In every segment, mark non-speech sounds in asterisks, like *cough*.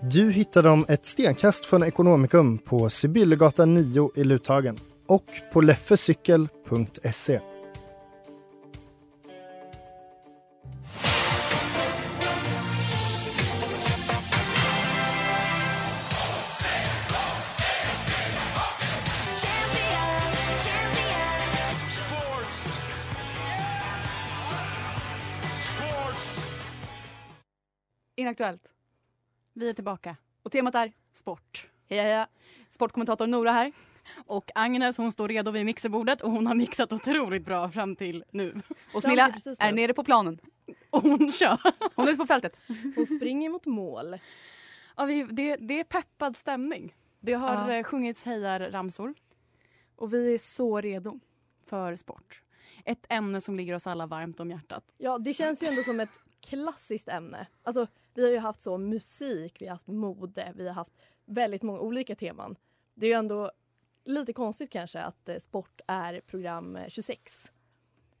Du hittar dem ett stenkast från Ekonomikum på Sibyllegatan 9 i Luthagen och på leffecykel.se. Inaktuellt. Vi är tillbaka. Och temat är sport. Heja, heja. Sportkommentator Nora här. Och Agnes hon står redo vid mixerbordet och hon har mixat otroligt bra fram till nu. Och Smilla Smilla är nere på planen. Och hon kör. Hon är ute på fältet. Hon springer mot mål. Ja, vi, det, det är peppad stämning. Det har Ja. ja. sjungits hejarramsor. Och vi är så redo för sport. Ett ämne som ligger oss alla varmt om hjärtat. Ja, det känns ju ändå som ett klassiskt ämne. Alltså, vi har ju haft så musik, vi har haft mode, vi har haft väldigt många olika teman. Det är ju ändå lite konstigt kanske att eh, sport är program eh, 26.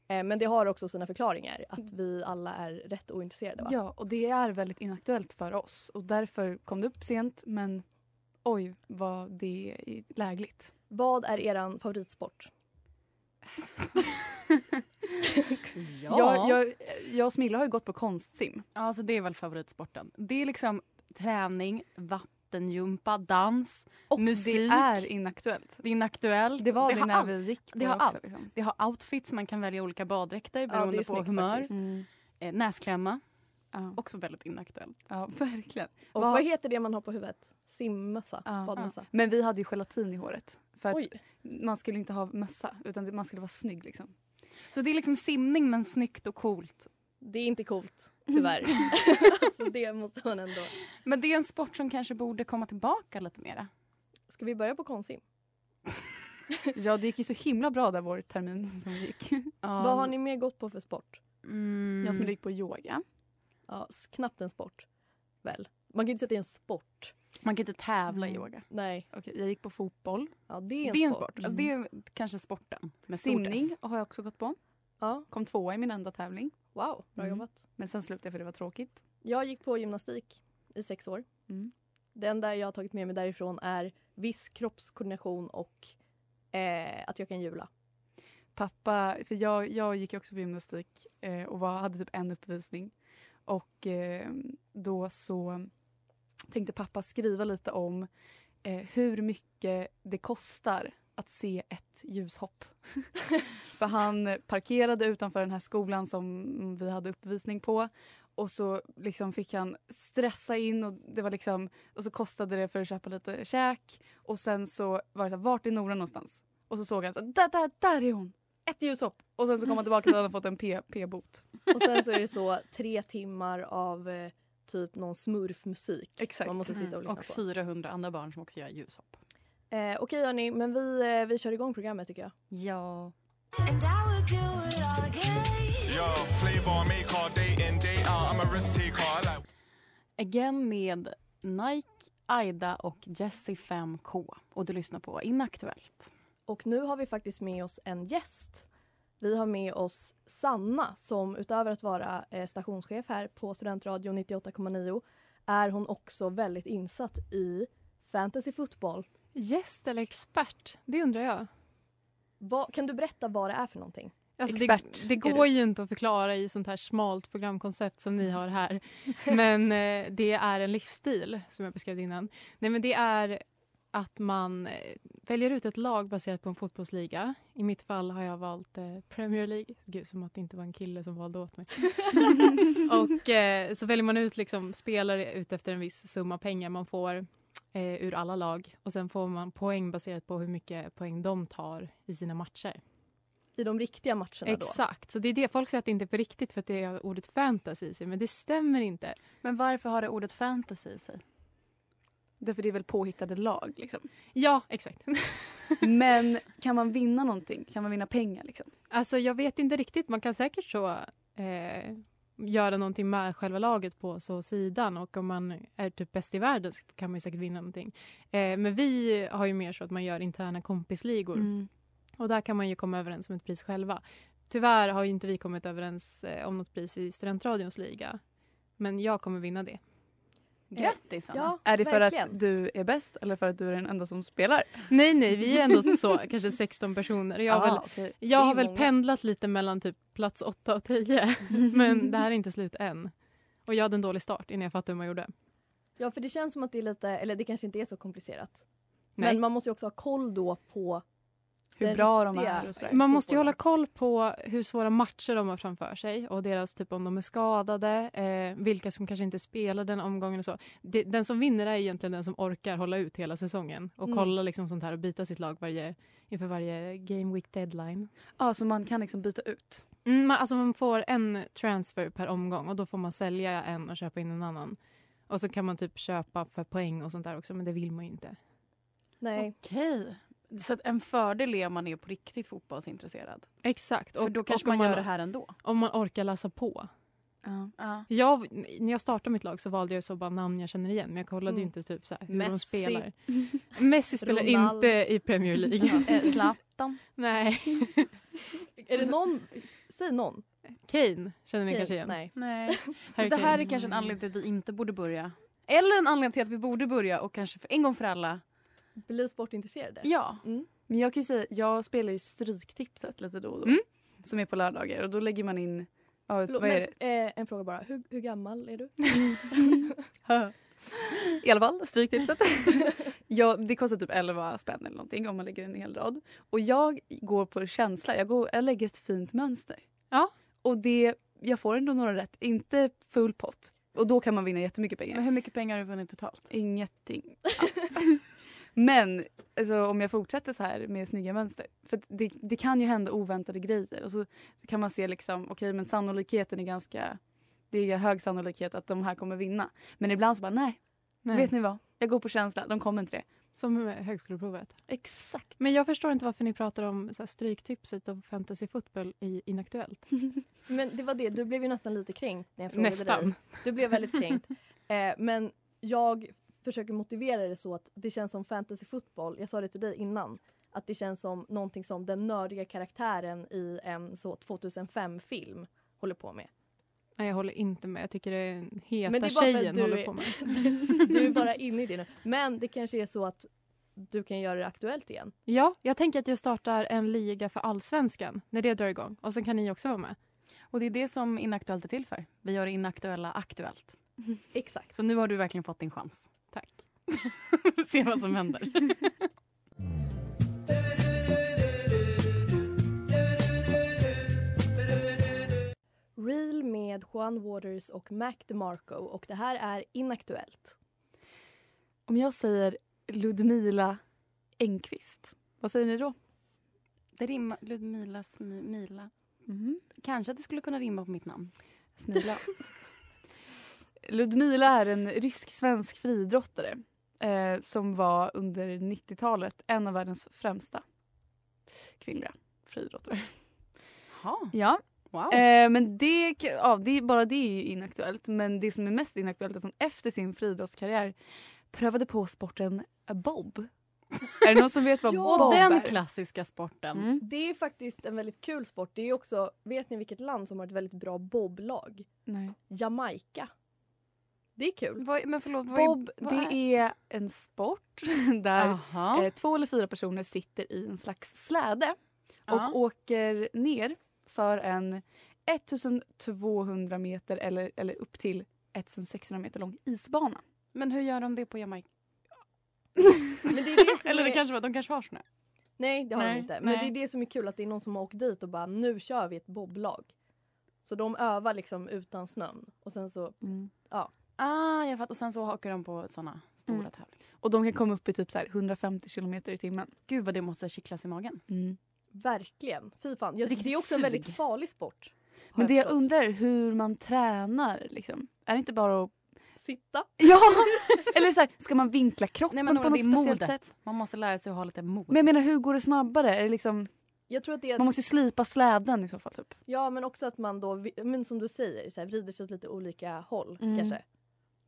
Eh, Men det har också sina förklaringar, att vi alla är rätt ointresserade. Va? Ja, och det är väldigt inaktuellt för oss och därför kom det upp sent men oj vad det är lägligt. Vad är er favoritsport? Ja. Jag, jag, jag och Smilla har ju gått på konstsim. Ja, så det är väl favoritsporten. Det är liksom träning, vattenjumpa, dans, Och musik. det är inaktuellt. det är inaktuellt. Det var det, har när all- vi gick på det har också, allt. Liksom. det har outfits, man kan välja olika baddräkter det är beroende på snyggt humör. faktiskt. Mm. Eh, näsklämma, Ja. också väldigt inaktuellt. ja, verkligen. Och Vad- vad heter det man har på huvudet? Simmössa? Ja. badmössa? Men vi hade ju gelatin i håret. För att Oj, Man skulle inte ha mössa utan det- man skulle vara snygg. Liksom. Så det är liksom simning men snyggt och coolt. det är *laughs* inte coolt, tyvärr. *laughs* alltså, det måste man ändå... Men det är en sport som kanske borde komma tillbaka lite mera. Ska vi börja på konstsim? *laughs* Ja, det gick ju så himla bra där vår termin som gick. Vad har ni mer gått på för sport? Mm. Jag som gick på yoga. Ja, s- knappt en sport, väl? Man kan ju inte säga att det är en sport. Man kan ju inte tävla i Mm. yoga. Nej, Okej, jag gick på fotboll. ja, det är en det är en sport. sport. Mm. Alltså, det är kanske sporten. med stor Mm. Simning S. har jag också gått på. Ja, Kom tvåa i min enda tävling. wow, bra Mm. jobbat. Men sen slutade jag för det var tråkigt. Jag gick på gymnastik i sex år. Mm. Det enda jag har tagit med mig därifrån är viss kroppskoordination och eh, att jag kan hjula. Pappa, för jag, jag gick ju också på gymnastik eh, och var, hade typ en uppvisning. Och eh, då så tänkte pappa skriva lite om eh, hur mycket det kostar att se ett ljushopp. *laughs* för han parkerade utanför den här skolan som vi hade uppvisning på. Och så liksom fick han stressa in och, det var liksom, och så kostade det för att köpa lite käk. Och sen så var det så här, vart är Nora någonstans? Och så såg han så här, där, där, där är hon! Ett ljushopp! Och sen så kom han tillbaka till att han hade fått en P- p-bot. Och sen så är *laughs* det så tre timmar av eh, typ någon smurfmusik Exakt. Mm. man måste sitta och lyssna Och på. 400 andra barn som också gör ljushopp. Eh, Okej hörni, men vi, eh, vi kör igång programmet tycker jag. Ja. Again med Nike, Aida och Jessie 5K. Och du lyssnar på Inaktuellt. Och nu har vi faktiskt med oss en gäst. Vi har med oss Sanna som utöver att vara eh, stationschef här på Studentradion 98,9 är hon också väldigt insatt i fantasy fotboll. Gäst eller expert? Det undrar jag. Vad- Kan du berätta vad det är för någonting? Alltså Expert, det, det är du. går ju inte att förklara i sånt här smalt programkoncept som ni *laughs* har här. Men eh, det är en livsstil, som jag beskrev innan. Nej, men det är att man eh, väljer ut ett lag baserat på en fotbollsliga. I mitt fall har jag valt eh, Premier League. Gud, som att det inte var en kille som *laughs* valde åt mig. och eh, så väljer man ut liksom spelare ut efter en viss summa pengar man får eh, ur alla lag. Och sen får man poäng baserat på hur mycket poäng de tar i sina matcher. I de riktiga matcherna då? Exakt, så det är det folk säger att det inte är på riktigt för att det är ordet fantasy i sig, men det stämmer inte. Men varför har det ordet fantasy i sig? Därför det är väl påhittade lag *laughs* liksom. Ja, exakt. *laughs* Men kan man vinna någonting? Kan man vinna pengar liksom? Alltså jag vet inte riktigt, man kan säkert så eh, göra någonting med själva laget på så sidan och om man är typ bäst i världen så kan man ju säkert vinna någonting. Eh, men vi har ju mer så att man gör interna kompisligor Mm. och där kan man ju komma överens om ett pris själva. Tyvärr har ju inte vi kommit överens eh, om något pris i Studentradions liga, men jag kommer vinna det. Grattis Anna! Ja, är det för verkligen. att du är bäst eller för att du är den enda som spelar? Nej, nej, vi är ändå så kanske 16 personer. Jag har väl Ah, okej. Jag Det är har väl många. pendlat lite mellan typ plats 8 och 10, *laughs* men det här är inte slut än. Och jag hade en dålig start innan jag fattade hur man gjorde. Ja, för det känns som att det är lite, eller det kanske inte är så komplicerat. Nej. Men man måste ju också ha koll då på Hur den bra de riktiga är och sådär. Man måste ju hålla koll på hur svåra matcher de har framför sig och deras typ om de är skadade, eh, vilka som kanske inte spelar den omgången och så. Det, den som vinner är egentligen den som orkar hålla ut hela säsongen och Mm. kolla liksom sånt här och byta sitt lag varje, inför varje game week deadline. Ja, så man kan liksom byta ut. Mm, man, alltså man får en transfer per omgång och då får man sälja en och köpa in en annan. Och så kan man typ köpa för poäng och sånt där också, men det vill man ju inte. Nej, Okej. Så att en fördel är om man är på riktigt fotbollsintresserad. Exakt. För då kanske om man, gör det här ändå. Om man orkar läsa på. Ja. Jag, när jag startade mitt lag så valde jag så bara namn jag känner igen, men jag kollade ju Mm. inte typ så här hur de Messi. *laughs* spelar. Messi spelar Ronaldo. inte i Premier League. Eh, Zlatan. *laughs* Nej. är det någon, säg någon. Kane känner ni Okej, kanske igen. Nej. *laughs* Nej. Så Harry det här Kane. Mm. är kanske en anledning till att vi inte borde börja. Eller en anledning till att vi borde börja och kanske för en gång för alla. Bli sportintresserade. Ja. Mm. Men jag kan ju säga, jag spelar ju Stryktipset lite då och då. Mm. Som är på lördagar och då lägger man in, ja, Förlåt, vad är det? men, eh, en fråga bara. Hur, hur gammal är du? *laughs* I alla fall, *laughs* stryktipset. ja, det kostar typ 11 spänn eller någonting om man lägger en hel rad. Och jag går på känsla. Jag, går, jag lägger ett fint mönster. Ja. Och det, jag får ändå några rätt. Inte full pott. Och då kan man vinna jättemycket pengar. hur mycket pengar har du vunnit totalt? Ingenting alls. *laughs* Men alltså, om jag fortsätter så här med snygga mönster. För att det, det kan ju hända oväntade grejer. Och så kan man se liksom, okej men sannolikheten är ganska... Det är hög sannolikhet att de här kommer vinna. Men ibland så bara, nej Nej. Vet ni vad? Jag går på känsla. De kommer inte det. Som med högskoleprovet. Exakt. Men jag förstår inte varför ni pratar om så här, stryktipset och fantasy football i Inaktuellt. Men det var det, du blev ju nästan lite kränkt när jag frågade dig. Nästan. Du blev väldigt *laughs* kränkt. Eh, men jag försöker motivera det så att det känns som fantasy football. Jag sa det till dig innan. Att det känns som någonting som den nördiga karaktären i en så 2005-film håller på med. Nej, jag håller inte med. Jag tycker det är en heta Men det är bara för att tjejen du håller är- på med. Du är bara inne i det nu. Men det kanske är så att du kan göra det aktuellt igen. Ja, jag tänker att jag startar en liga för allsvenskan när det drar igång. Och sen kan ni också vara med. Och det är det som Inaktuellt är till för. Vi gör det inaktuella aktuellt. Exakt. Så nu har du verkligen fått din chans. Tack. *laughs* Se vad som händer. *laughs* Real med Juan Waters och Mac DeMarco och det här är inaktuellt. Om jag säger Ludmila Engqvist, vad säger ni då? Det rimmar, Ludmilas mi- Mila. Mhm. Kanske att det skulle kunna rimma på mitt namn. Smila. *laughs* Ludmila är en rysk-svensk friidrottare eh, som var under 90-talet en av världens främsta kvinnliga friidrottare. Ja. Ja, Wow. Eh, men det, ja, det, bara det är ju inaktuellt. Men det som är mest inaktuellt är att hon efter sin friidrottskarriär prövade på sporten bob. är det någon *laughs* som vet vad Ja, bob Den är? klassiska sporten. Mm. Det är faktiskt en väldigt kul sport. Det är också, vet ni vilket land som har ett väldigt bra boblag? Nej. Jamaica. Det är kul. Vad, men förlåt, Bob det är en *laughs* sport där Aha. eh, två eller fyra personer sitter i en slags släde och Ja. åker ner för en 1200 meter eller, eller upp till 1600 meter lång isbana. Men hur gör de det på Jamaica? Men det är *laughs* det som Eller det är- kanske var, de kanske har såna. Nej, det har Nej, de inte. Men nej. det är det som är kul, att det är någon som har åkt dit och bara nu kör vi ett boblag. Så de övar liksom utan snön. Och sen så, ja. Ah, jag fattar. Och sen så åker de på såna stora tävlingar. Och de kan komma upp i typ så här 150 kilometer i timmen. Gud vad det måste kittlas i magen. Verkligen. Fy fan. Jag, Riktigt det är också en väldigt sug. farlig sport. Men det jag undrar är hur man tränar. Liksom. Är det inte bara att... Sitta. Ja! *laughs* Eller så här, ska man vinkla kroppen Nej, men på något Nora, det är speciellt modet. sätt? Man måste lära sig att ha lite mod. Men jag menar, hur går det snabbare? Är det liksom, Jag tror att det är... man måste ju slipa släden i så fall. Typ. Ja, men också att man då, vi- men som du säger, så här, vrider sig åt lite olika håll Mm. kanske.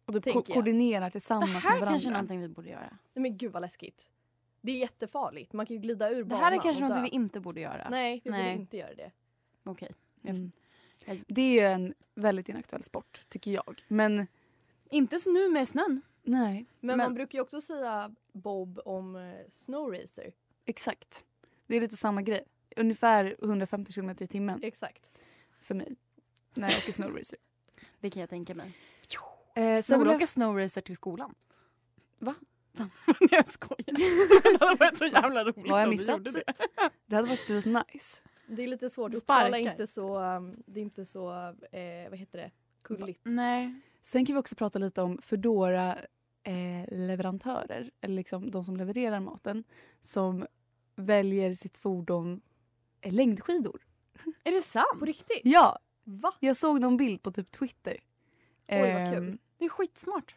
Och typ Tänker ko- jag. koordinerar tillsammans det här med varandra. kanske är någonting vi borde göra. Nej, men gud vad läskigt. Det är jättefarligt. Man kan ju glida ur Det banan här är kanske och någonting dö. vi inte borde göra. Nej, vi Nej. borde inte göra det. Okej. Mm. Det är ju en väldigt inaktuell sport, tycker jag. Mm. Men Inte så nu med snön. nej, Men, Men- man brukar ju också säga bob om eh, snowracer. exakt. Det är lite samma grej. Ungefär 150 km i timmen Exakt. för mig när jag åker snowracer. Det kan jag tänka mig. Eh, vill Sen Nora jag- åker snowracer till skolan. Va? Fan, *laughs* nej, jag skojar. *laughs* det hade varit så jävla roligt Vad har jag om du missat? gjorde det. Det hade varit väldigt nice. *laughs* Det är lite svårt. Du Uppsala sparkar. är inte så, um, det är inte så eh, vad heter det, kulligt. Nej. Sen kan vi också prata lite om Foodora eh, leverantörer eller liksom de som levererar maten som väljer sitt fordon eh, längdskidor. Är det sant? På riktigt? Ja, Va? jag såg någon bild på typ Twitter. Oj, vad Ehm, kul. Det är skitsmart.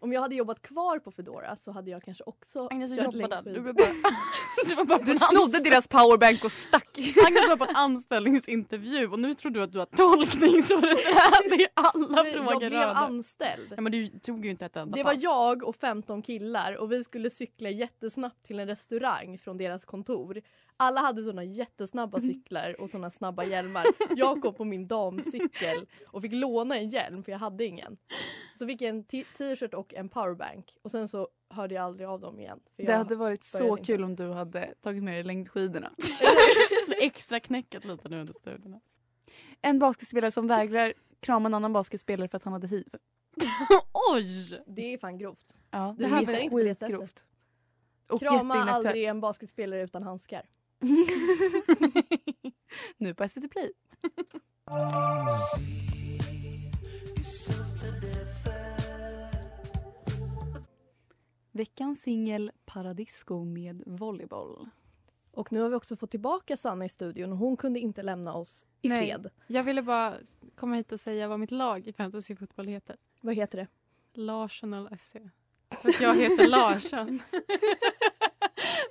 Om jag hade jobbat kvar på Foodora så hade jag kanske också Agnes, du kört jobbade. längdskidor. Du, blev bara, *laughs* du, var bara på Du en snodde deras powerbank och stack. anst- Agnes var på en anställningsintervju och nu tror du att du har tolkningsföreträde i alla Nej, frågor jag blev rörande- anställd. Nej, men du tog ju inte ett enda Det var pass. jag och 15 killar och vi skulle cykla jättesnabbt till en restaurang från deras kontor. Alla hade såna jättesnabba cyklar och såna snabba hjälmar. Jag kom på min damcykel och fick låna en hjälm för jag hade ingen. Så fick jag en t- t-shirt och en powerbank och sen så hörde jag aldrig av dem igen. För Det jag- hade varit så började inte. kul om du hade tagit med dig *laughs* längdskidorna. Extra knäckat lite nu under studierna. En basketspelare som vägrar krama en annan basketspelare för att han hade hiv. *laughs* Oj! Det är fan grovt. Ja, Det smittar inte på det sättet. skitgrovt. Och Krama jätteinaktuellt. aldrig en basketspelare utan handskar. *laughs* nu på SVT Play. Veckans singel Paradisco med volleyboll. Och nu har vi också fått tillbaka Sanna i studion och hon kunde inte lämna oss i Nej. fred. Jag ville bara komma hit och säga vad mitt lag i fantasyfotboll heter. Vad heter det? Larsenal FC. För att jag *laughs* heter Larsson.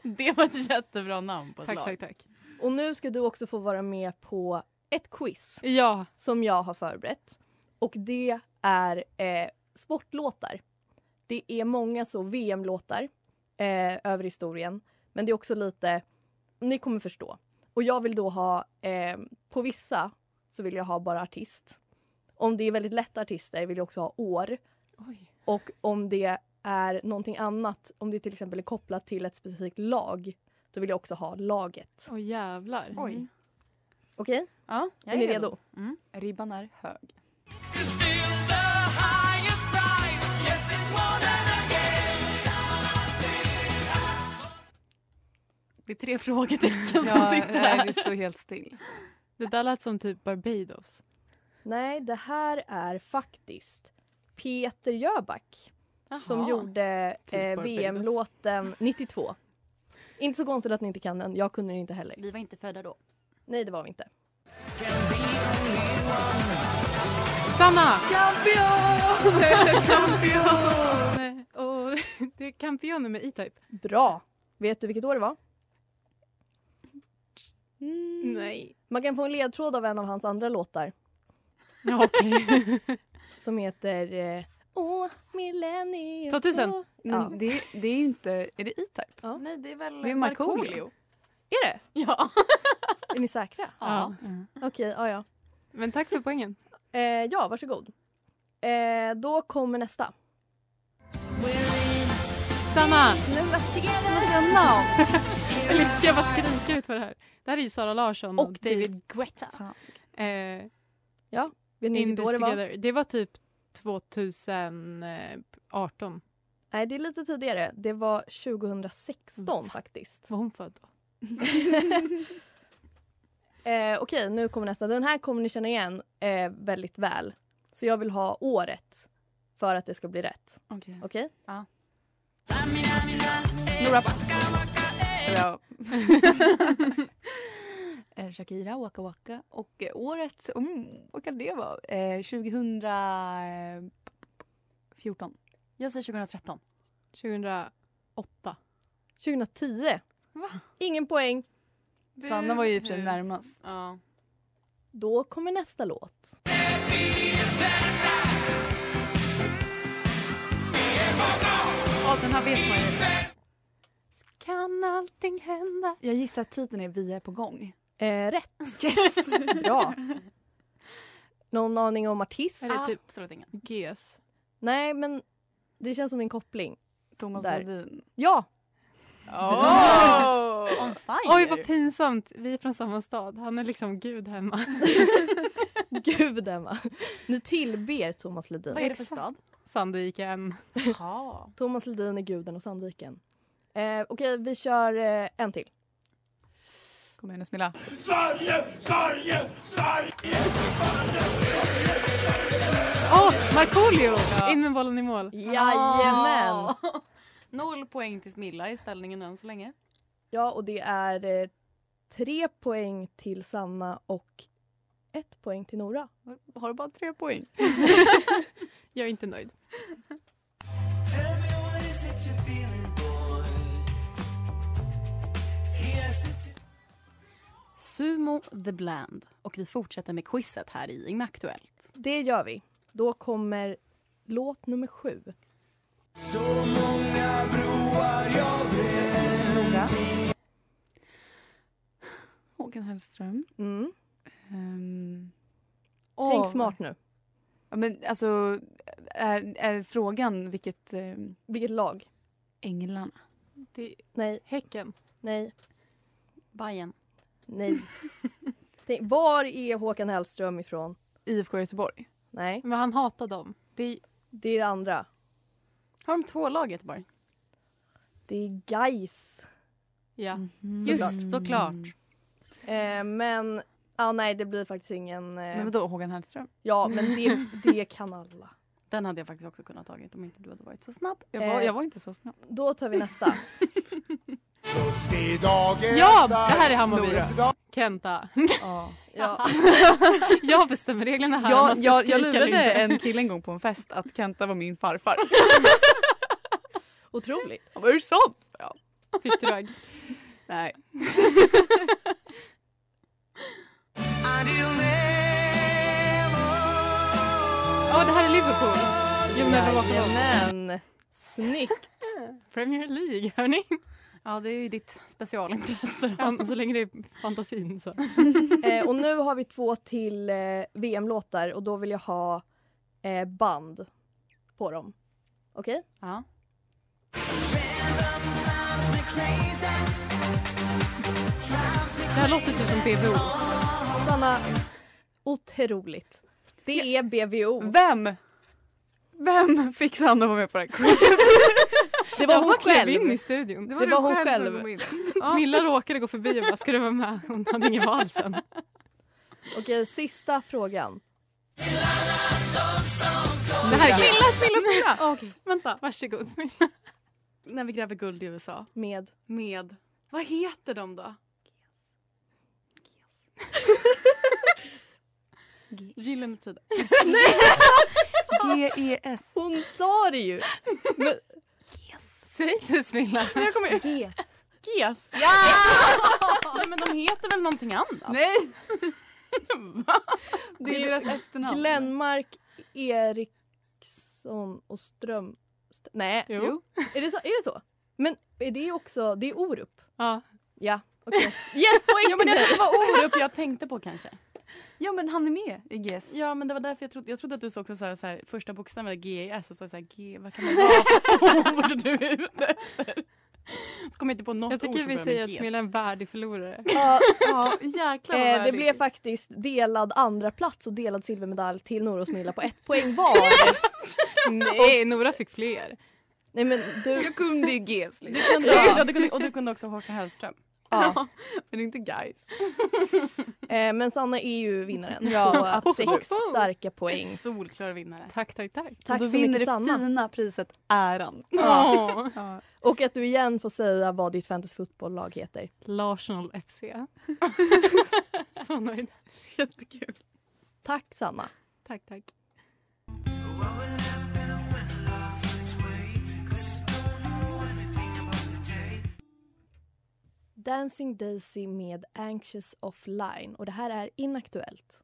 Det var ett jättebra namn på ett tack, lag. tack, tack. Och nu ska du också få vara med på ett quiz Ja, som jag har förberett. Och det är eh, sportlåtar. Det är många så VM-låtar eh, över historien. Men det är också lite, ni kommer förstå. Och jag vill då ha, eh, på vissa så vill jag ha bara artist. Om det är väldigt lätta artister vill jag också ha år. Oj. Och om det är någonting annat, om det till exempel är kopplat till ett specifikt lag, då vill jag också ha laget. och jävlar. Mm. Oj. Okej? Ja, jag Är ni redo? Mm. Ribban är hög. Det är tre frågetecken som Ja, sitter nej, där. det står helt still. Det där lät som typ Barbados. Nej, det här är faktiskt Peter Jöback som gjorde eh, Barbados. VM-låten 92. inte så konstigt att ni inte kan den. Jag kunde den inte heller. Vi var inte födda då. Nej, det var vi inte. Sanna! Kampion! Och det är kampioner med E-Type. Bra! Vet du vilket år det var? Mm. Nej. Man kan få en ledtråd av en av hans andra låtar Ja, okej. som heter eh, Åh, millennium 2000. åh. Men Ja. det, det är ju inte... Är det E-Type? Nej, det är väl Det är Markoolio. Är det? Ja. Är ni säkra? ja. Okej, ja, ja. Men tack för poängen. Eh, ja, varsågod. Eh, då kommer nästa. *laughs* Sanna! Eller ska jag bara skrika ut vad det här Det här är ju Sara Larsson Och David Guetta. Eh, Vet ni In vilket år this det var? eh, together. Det var typ 2018. Nej, det är lite tidigare. Det var 2016 faktiskt. Var hon född då? Eh, Okej, nu kommer nästa. Den här kommer ni känna igen eh, väldigt väl. Så jag vill ha året för att det ska bli rätt. Okej. Okej? Ja. Nora *laughs* Ja. Eh, Shakira, Waka Waka. Och eh, året, mm, vad kan det vara? Eh, 2014. Jag säger 2013. 2008. 2010. Ingen poäng. Sanna var ju i och för sig närmast. Då kommer nästa låt. Ja, den här vet man ju. Kan allting hända? Jag gissar att titeln är Vi är på gång. Eh, rätt. Yes! Bra. Någon aning om artist? Är det typ Absolut ingen. GES. Nej, men det känns som en koppling. Thomas Där. Ledin. Ja! Oh! On fire! Oj, vad pinsamt. Vi är från samma stad. Han är liksom gud hemma. *laughs* *laughs* Gud, Emma. Ni tillber Thomas Ledin. Vad är det för stad? Sandviken. Jaha. Thomas Ledin är guden och Sandviken. Eh, Okej, vi kör eh, en till. Kom igen nu Smilla. Åh, Markoolio! In med bollen i mål. Jajamän! Ah. Noll poäng till Smilla i ställningen än så länge. Ja, och det är eh, tre poäng till Sanna och ett poäng till Nora. Har du bara tre *laughs* poäng? Jag är inte nöjd. Sumo the Bland. Och vi fortsätter med quizet här i Inaktuellt. Det gör vi. Då kommer låt nummer sju. Nora. Håkan Hellström. Mm. Ehm, Tänk åh. smart nu. Ja, Men alltså, är, är frågan vilket... ehm, Vilket lag? Änglarna. Det är Nej, häcken. nej, Bajen. nej. *laughs* Tänk, var är Håkan Hellström ifrån? IFK Göteborg. Nej, Men han hatar dem. Det är det är det andra. Har de två lag i Göteborg? Det är Gais. Ja. Just såklart. Eh, men, ah, nej det blir faktiskt ingen... Eh, Men vadå, Håkan Hellström? ja, men det, det kan alla. Den hade jag faktiskt också kunnat tagit om inte du hade varit så snabb. Jag var, Eh. jag var inte så snabb. Då tar *laughs* vi nästa. Ja, det här är Hammarby. Kenta. ja. Ja. *laughs* *laughs* Jag bestämmer reglerna här. om man Jag, ska jag, skrika jag eller lurade inte. en kille en gång på en fest att Kenta var min *laughs* farfar. Otroligt. Han bara, är det sant? Ja. Fittdrag. Nej. *laughs* Åh, det här är Liverpool. You never walk alone. Jajamän. Snyggt. Premier League, hörni. Ja, det är ju ditt specialintresse. då. Ja, så länge det är fantasin så. Eh, och nu har vi två till eh, VM-låtar och då vill jag ha eh, band på dem. Okej? Ja. Det här låter typ som BBO. Sanna, otroligt. Det är BVO. Vem? Vem fick Sanna att vara med på det här quizet? Det var jag hon bara klev in själv. i studion. var hon själv. som kom in. *laughs* Smilla råkade gå förbi och bara, ska du vara med? Hon hade ingen val sen. Okej, sista frågan. Det här är Smilla, smilla, smilla! *laughs* Vänta, varsågod Smilla. När vi gräver guld i USA. Med Med... Vad heter de då? E Gyllene *laughs* Tider. E GES. Hon sa det ju! Säg det Smilla. Jag kommer ihåg. GES. GES. Ja! *laughs* Nej, men de heter väl någonting annat? *laughs* Nej! Det är deras efternamn. Glenmark, Eriksson och Ström... St- Nej. Jo. Är, det så, är det så? Men är det också... Det är Orup. Ja. Ja, okej. Yes, poäng Ja, men till mig! det var Orup jag tänkte på kanske. Ja men han är med i GES. Ja, men det var därför jag trodde, jag trodde att du såg också så här, så här, första bokstaven GES och så var jag så här, G, vad kan det vara för ord du är ute efter? Så kom jag inte på något Jag ord tycker som vi börjar säger med att GES. Smilla är en värdig förlorare. Ja, Ja, jäklar vad eh, det värdig. blev faktiskt delad andra plats och delad *laughs* *laughs* silvermedalj till Nora och Smilla på ett poäng var. Nej, Nora fick fler. Nej, men du... Jag kunde ju GES. Du kunde, ja, du kunde, och du kunde också Håkan Hellström. Ja. men inte guys. Eh, men Sanna är ju vinnaren Ja, ja, på absolut. sex starka poäng. Solklar vinnare. Tack, tack, tack. Tack och då så vinner mycket, det Sanna. fina priset äran. Ja. *laughs* Ja. Och att du igen får säga vad ditt fantasyfotbolllag heter. Larsenal FC. *laughs* Så nöjd. Jättekul. Tack Sanna. Tack, tack. Dancing Daisy med Anxious Offline. Och det här är inaktuellt.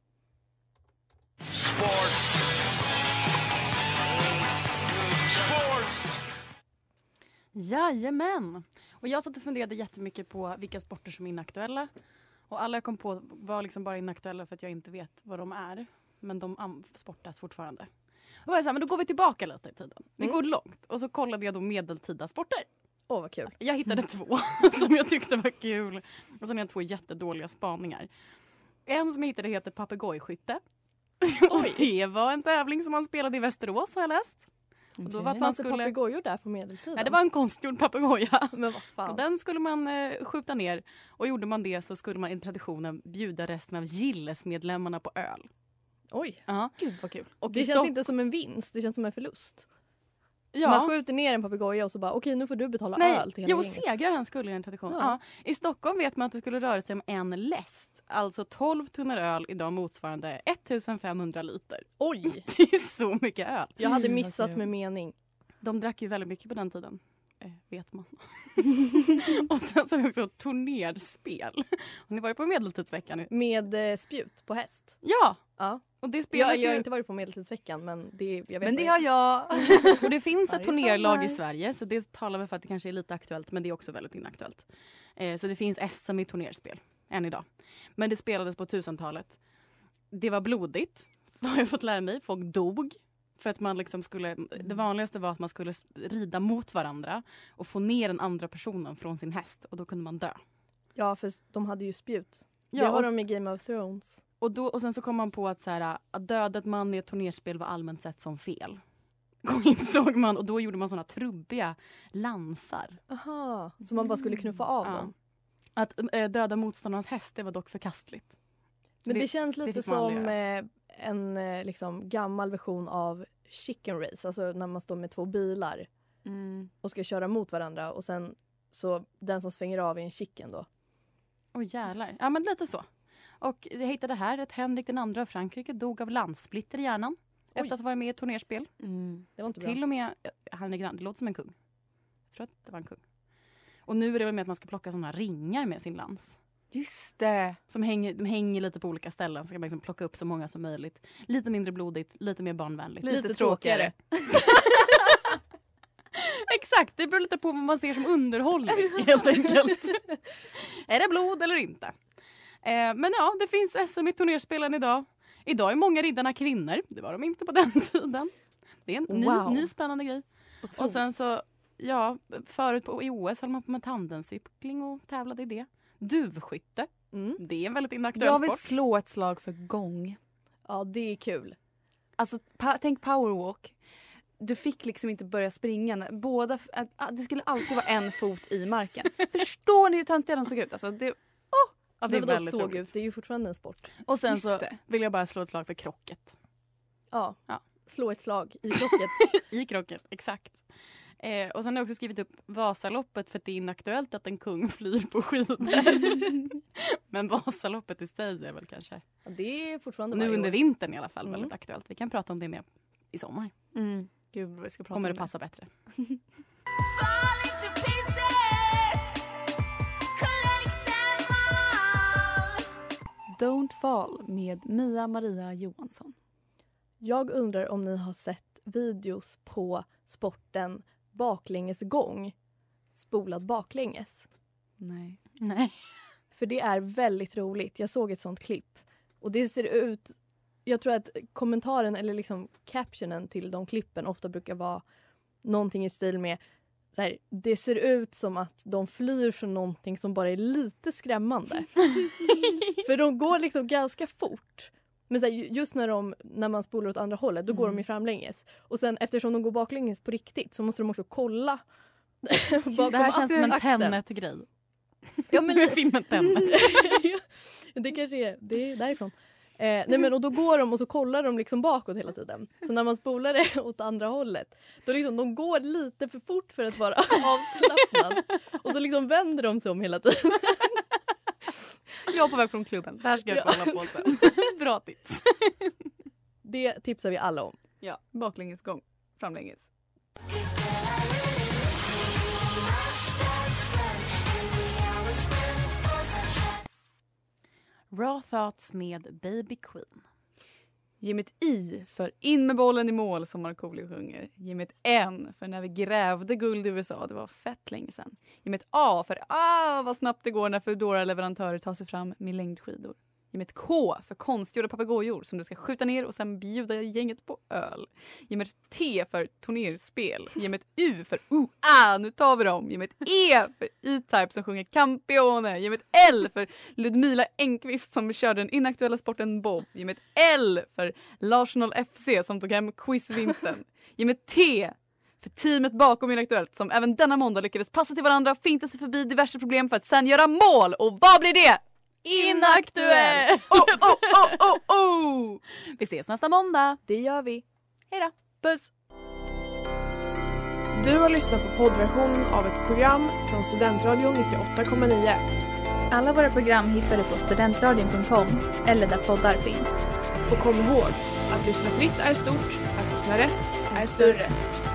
Sports. Sports. Jajamän. Och jag satt och funderade jättemycket på vilka sporter som är inaktuella. Och alla jag kom på var liksom bara inaktuella för att jag inte vet vad de är. Men de am- sportas fortfarande. Och jag var så här, men då går vi tillbaka lite i tiden. Vi Mm. går långt. Och så kollade jag då medeltida sporter. Åh, vad kul. Jag hittade två *laughs* som jag tyckte var kul. Och sen har jag två jättedåliga spaningar. En som jag hittade heter papegojskytte. *laughs* Och det var en tävling som han spelade i Västerås har jag läst. Och då var att man Fanns det skulle... papegojor där på medeltiden? Nej, det var en konstgjord papegoja. Men vad fan. Och den skulle man eh, skjuta ner. Och gjorde man det så skulle man enligt traditionen bjuda resten av Gillesmedlemmarna på öl. Oj. Ja. Gud vad kul. Och det i känns Stock- inte som en vinst, det känns som en förlust. Ja. Man skjuter ner en papegoja och så bara okej nu får du betala öl till hela jo, gänget. segraren skulle enligt tradition. Ja. Ja. I Stockholm vet man att det skulle röra sig om en läst. Alltså 12 tunnor öl idag motsvarande 1500 liter. *laughs* Oj! Det är så mycket öl. Jag hade missat med mening. De drack ju väldigt mycket på den tiden. Eh, vet man. *laughs* och sen så har vi också turnerspel. Har ni varit på Medeltidsveckan? Med eh, spjut på häst. Ja! Ja. Och det spelas Jag, jag har ju... inte varit på medeltidsveckan men det, jag Men vet vad det är. har *laughs* jag. Och det finns ett Varje turnerlag i sommar. Sverige så det talar väl för att det kanske är lite aktuellt men det är också väldigt inaktuellt. Eh, så det finns SM i turnerspel än idag. Men det spelades på 1000-talet. Det var blodigt, *laughs* har jag fått lära mig. Folk dog. För att man liksom skulle, det vanligaste var att man skulle s- rida mot varandra och få ner den andra personen från sin häst och då kunde man dö. Ja för de hade ju spjut. Ja, det har och- de i Game of Thrones. Och, då, och sen så kom man på att, så här, att dödat man i ett turnerspel var allmänt sett som fel. *laughs* Och insåg man och då gjorde man såna trubbiga lansar. Aha, så man bara skulle knuffa av Ja. dem. Att eh, döda motståndarens häst, det var dock förkastligt. Så Men det, känns det lite fick man aldrig som eh, en eh, liksom, gammal version av chicken race. Alltså när man står med två bilar Mm. och ska köra mot varandra och sen så den som svänger av är en chicken då. Åh jävlar. Ja men lite så. Och jag hittade här att Henrik den andra av Frankrike dog av landsplitter i hjärnan. Efter att ha varit med i ett turnerspel. Det var inte bra. Till och med Henrik den andra, det låter som en kung. Jag tror att det var en kung. Och nu är det väl med att man ska plocka såna ringar med sin lans. Just det. Som hänger, de hänger lite på olika ställen, så ska man liksom plocka upp så många som möjligt. Lite mindre blodigt, lite mer barnvänligt. Lite tråkigare. *laughs* Exakt, det beror lite på vad man ser som underhållning helt enkelt. är det blod eller inte? Eh, men ja, det finns SM i turnerspelen idag. Idag är många riddarna kvinnor, det var de inte på den *laughs* tiden. Det är en ny, Wow. ny spännande grej. Och sen så, ja, förut på, i OS höll man på med tandemcykling och tävlade i det. Duvskytte, Mm. det är en väldigt inaktuell Jag vill sport. slå ett slag för gång. Ja, det är kul. Alltså pa- tänk powerwalk. Du fick liksom inte börja springa. när- Båda, f- att- att det skulle alltid vara en fot i *laughs* marken. *laughs* Förstår ni hur töntiga de såg ut? Alltså, det, Ja, Det det är Men vadå väldigt såg roligt. ut? Det är ju fortfarande en sport. Och sen Just så det. vill jag bara slå ett slag för krocket. Ja. Ja. Slå ett slag i *laughs* klocket. I krocket, exakt. Eh, och sen har jag också skrivit upp Vasaloppet för att det är inaktuellt att en kung *laughs* flyr på skidor. Men Vasaloppet i sig är väl kanske, Ja, det är fortfarande nu varje under år. vintern i alla fall, Mm. väldigt aktuellt. Vi kan prata om det mer i sommar. mm. Gud, vi ska prata Kommer om det passa bättre. Falling to pieces. Collect them all. Don't Fall med Mia Maria Johansson. Jag undrar om ni har sett videos på sporten baklängesgång spolad baklänges. Nej. Nej. För det är väldigt roligt. Jag såg ett sånt klipp. Och det ser ut... Jag tror att kommentaren eller liksom captionen till de klippen ofta brukar vara någonting i stil med så här, det ser ut som att de flyr *laughs* från någonting som bara är lite skrämmande. För de går liksom ganska fort Men så här, ju- just när, de, när man spolar åt andra hållet, då går Mm. de ju framlänges. Och sen eftersom de går baklänges på riktigt så måste de också *laughs* *laughs* kolla bakom Det här känns som en axeln. Tenet-grej. Ja, *laughs* men filmen Tenet. *laughs* det kanske är, det är därifrån. Eh, nej men, och då går de och så kollar de liksom bakåt hela tiden. Så när man spolar det åt andra hållet, då liksom, de går lite för fort för att vara avslappnad. Och så liksom vänder de sig om hela tiden. Jag är på väg från klubben. Det här ska jag Ja. kolla på sen. Bra tips. Det tipsar vi alla om. Ja, baklänges gång. Framlänges. Raw Thoughts med Baby Queen. Ge mig ett I för in med bollen i mål som Markoolio sjunger. Ge mig ett N för när vi grävde guld i USA. Det var fett länge sedan. Ge mig ett A för ah vad snabbt det går när Foodora-leverantörer tar sig fram med längdskidor. Ge mig ett K för konstgjorda papegojor som du ska skjuta ner och sen bjuda gänget på öl. Ge mig ett T för turneringsspel. Ge mig ett U för oh, ah, nu tar vi dem. Ge mig ett E för E-Type som sjunger Campione. Ge mig ett L för Ludmila Engqvist som kör den inaktuella sporten bob. Ge mig ett L för Larsenal FC som tog hem quizvinsten. Ge mig ett T för teamet bakom Inaktuellt som även denna måndag lyckades passa till varandra, finta sig förbi diverse problem för att sen göra mål. Och vad blir det? Inaktuellt! Oh, oh, oh, oh, oh! Vi ses nästa måndag. Det gör vi. Hej då. Puss! Du har lyssnat på poddversionen av ett program från Studentradion 98,9. Alla våra program hittar du på studentradion.com eller där poddar finns. Och kom ihåg, att lyssna fritt är stort, att lyssna rätt är större.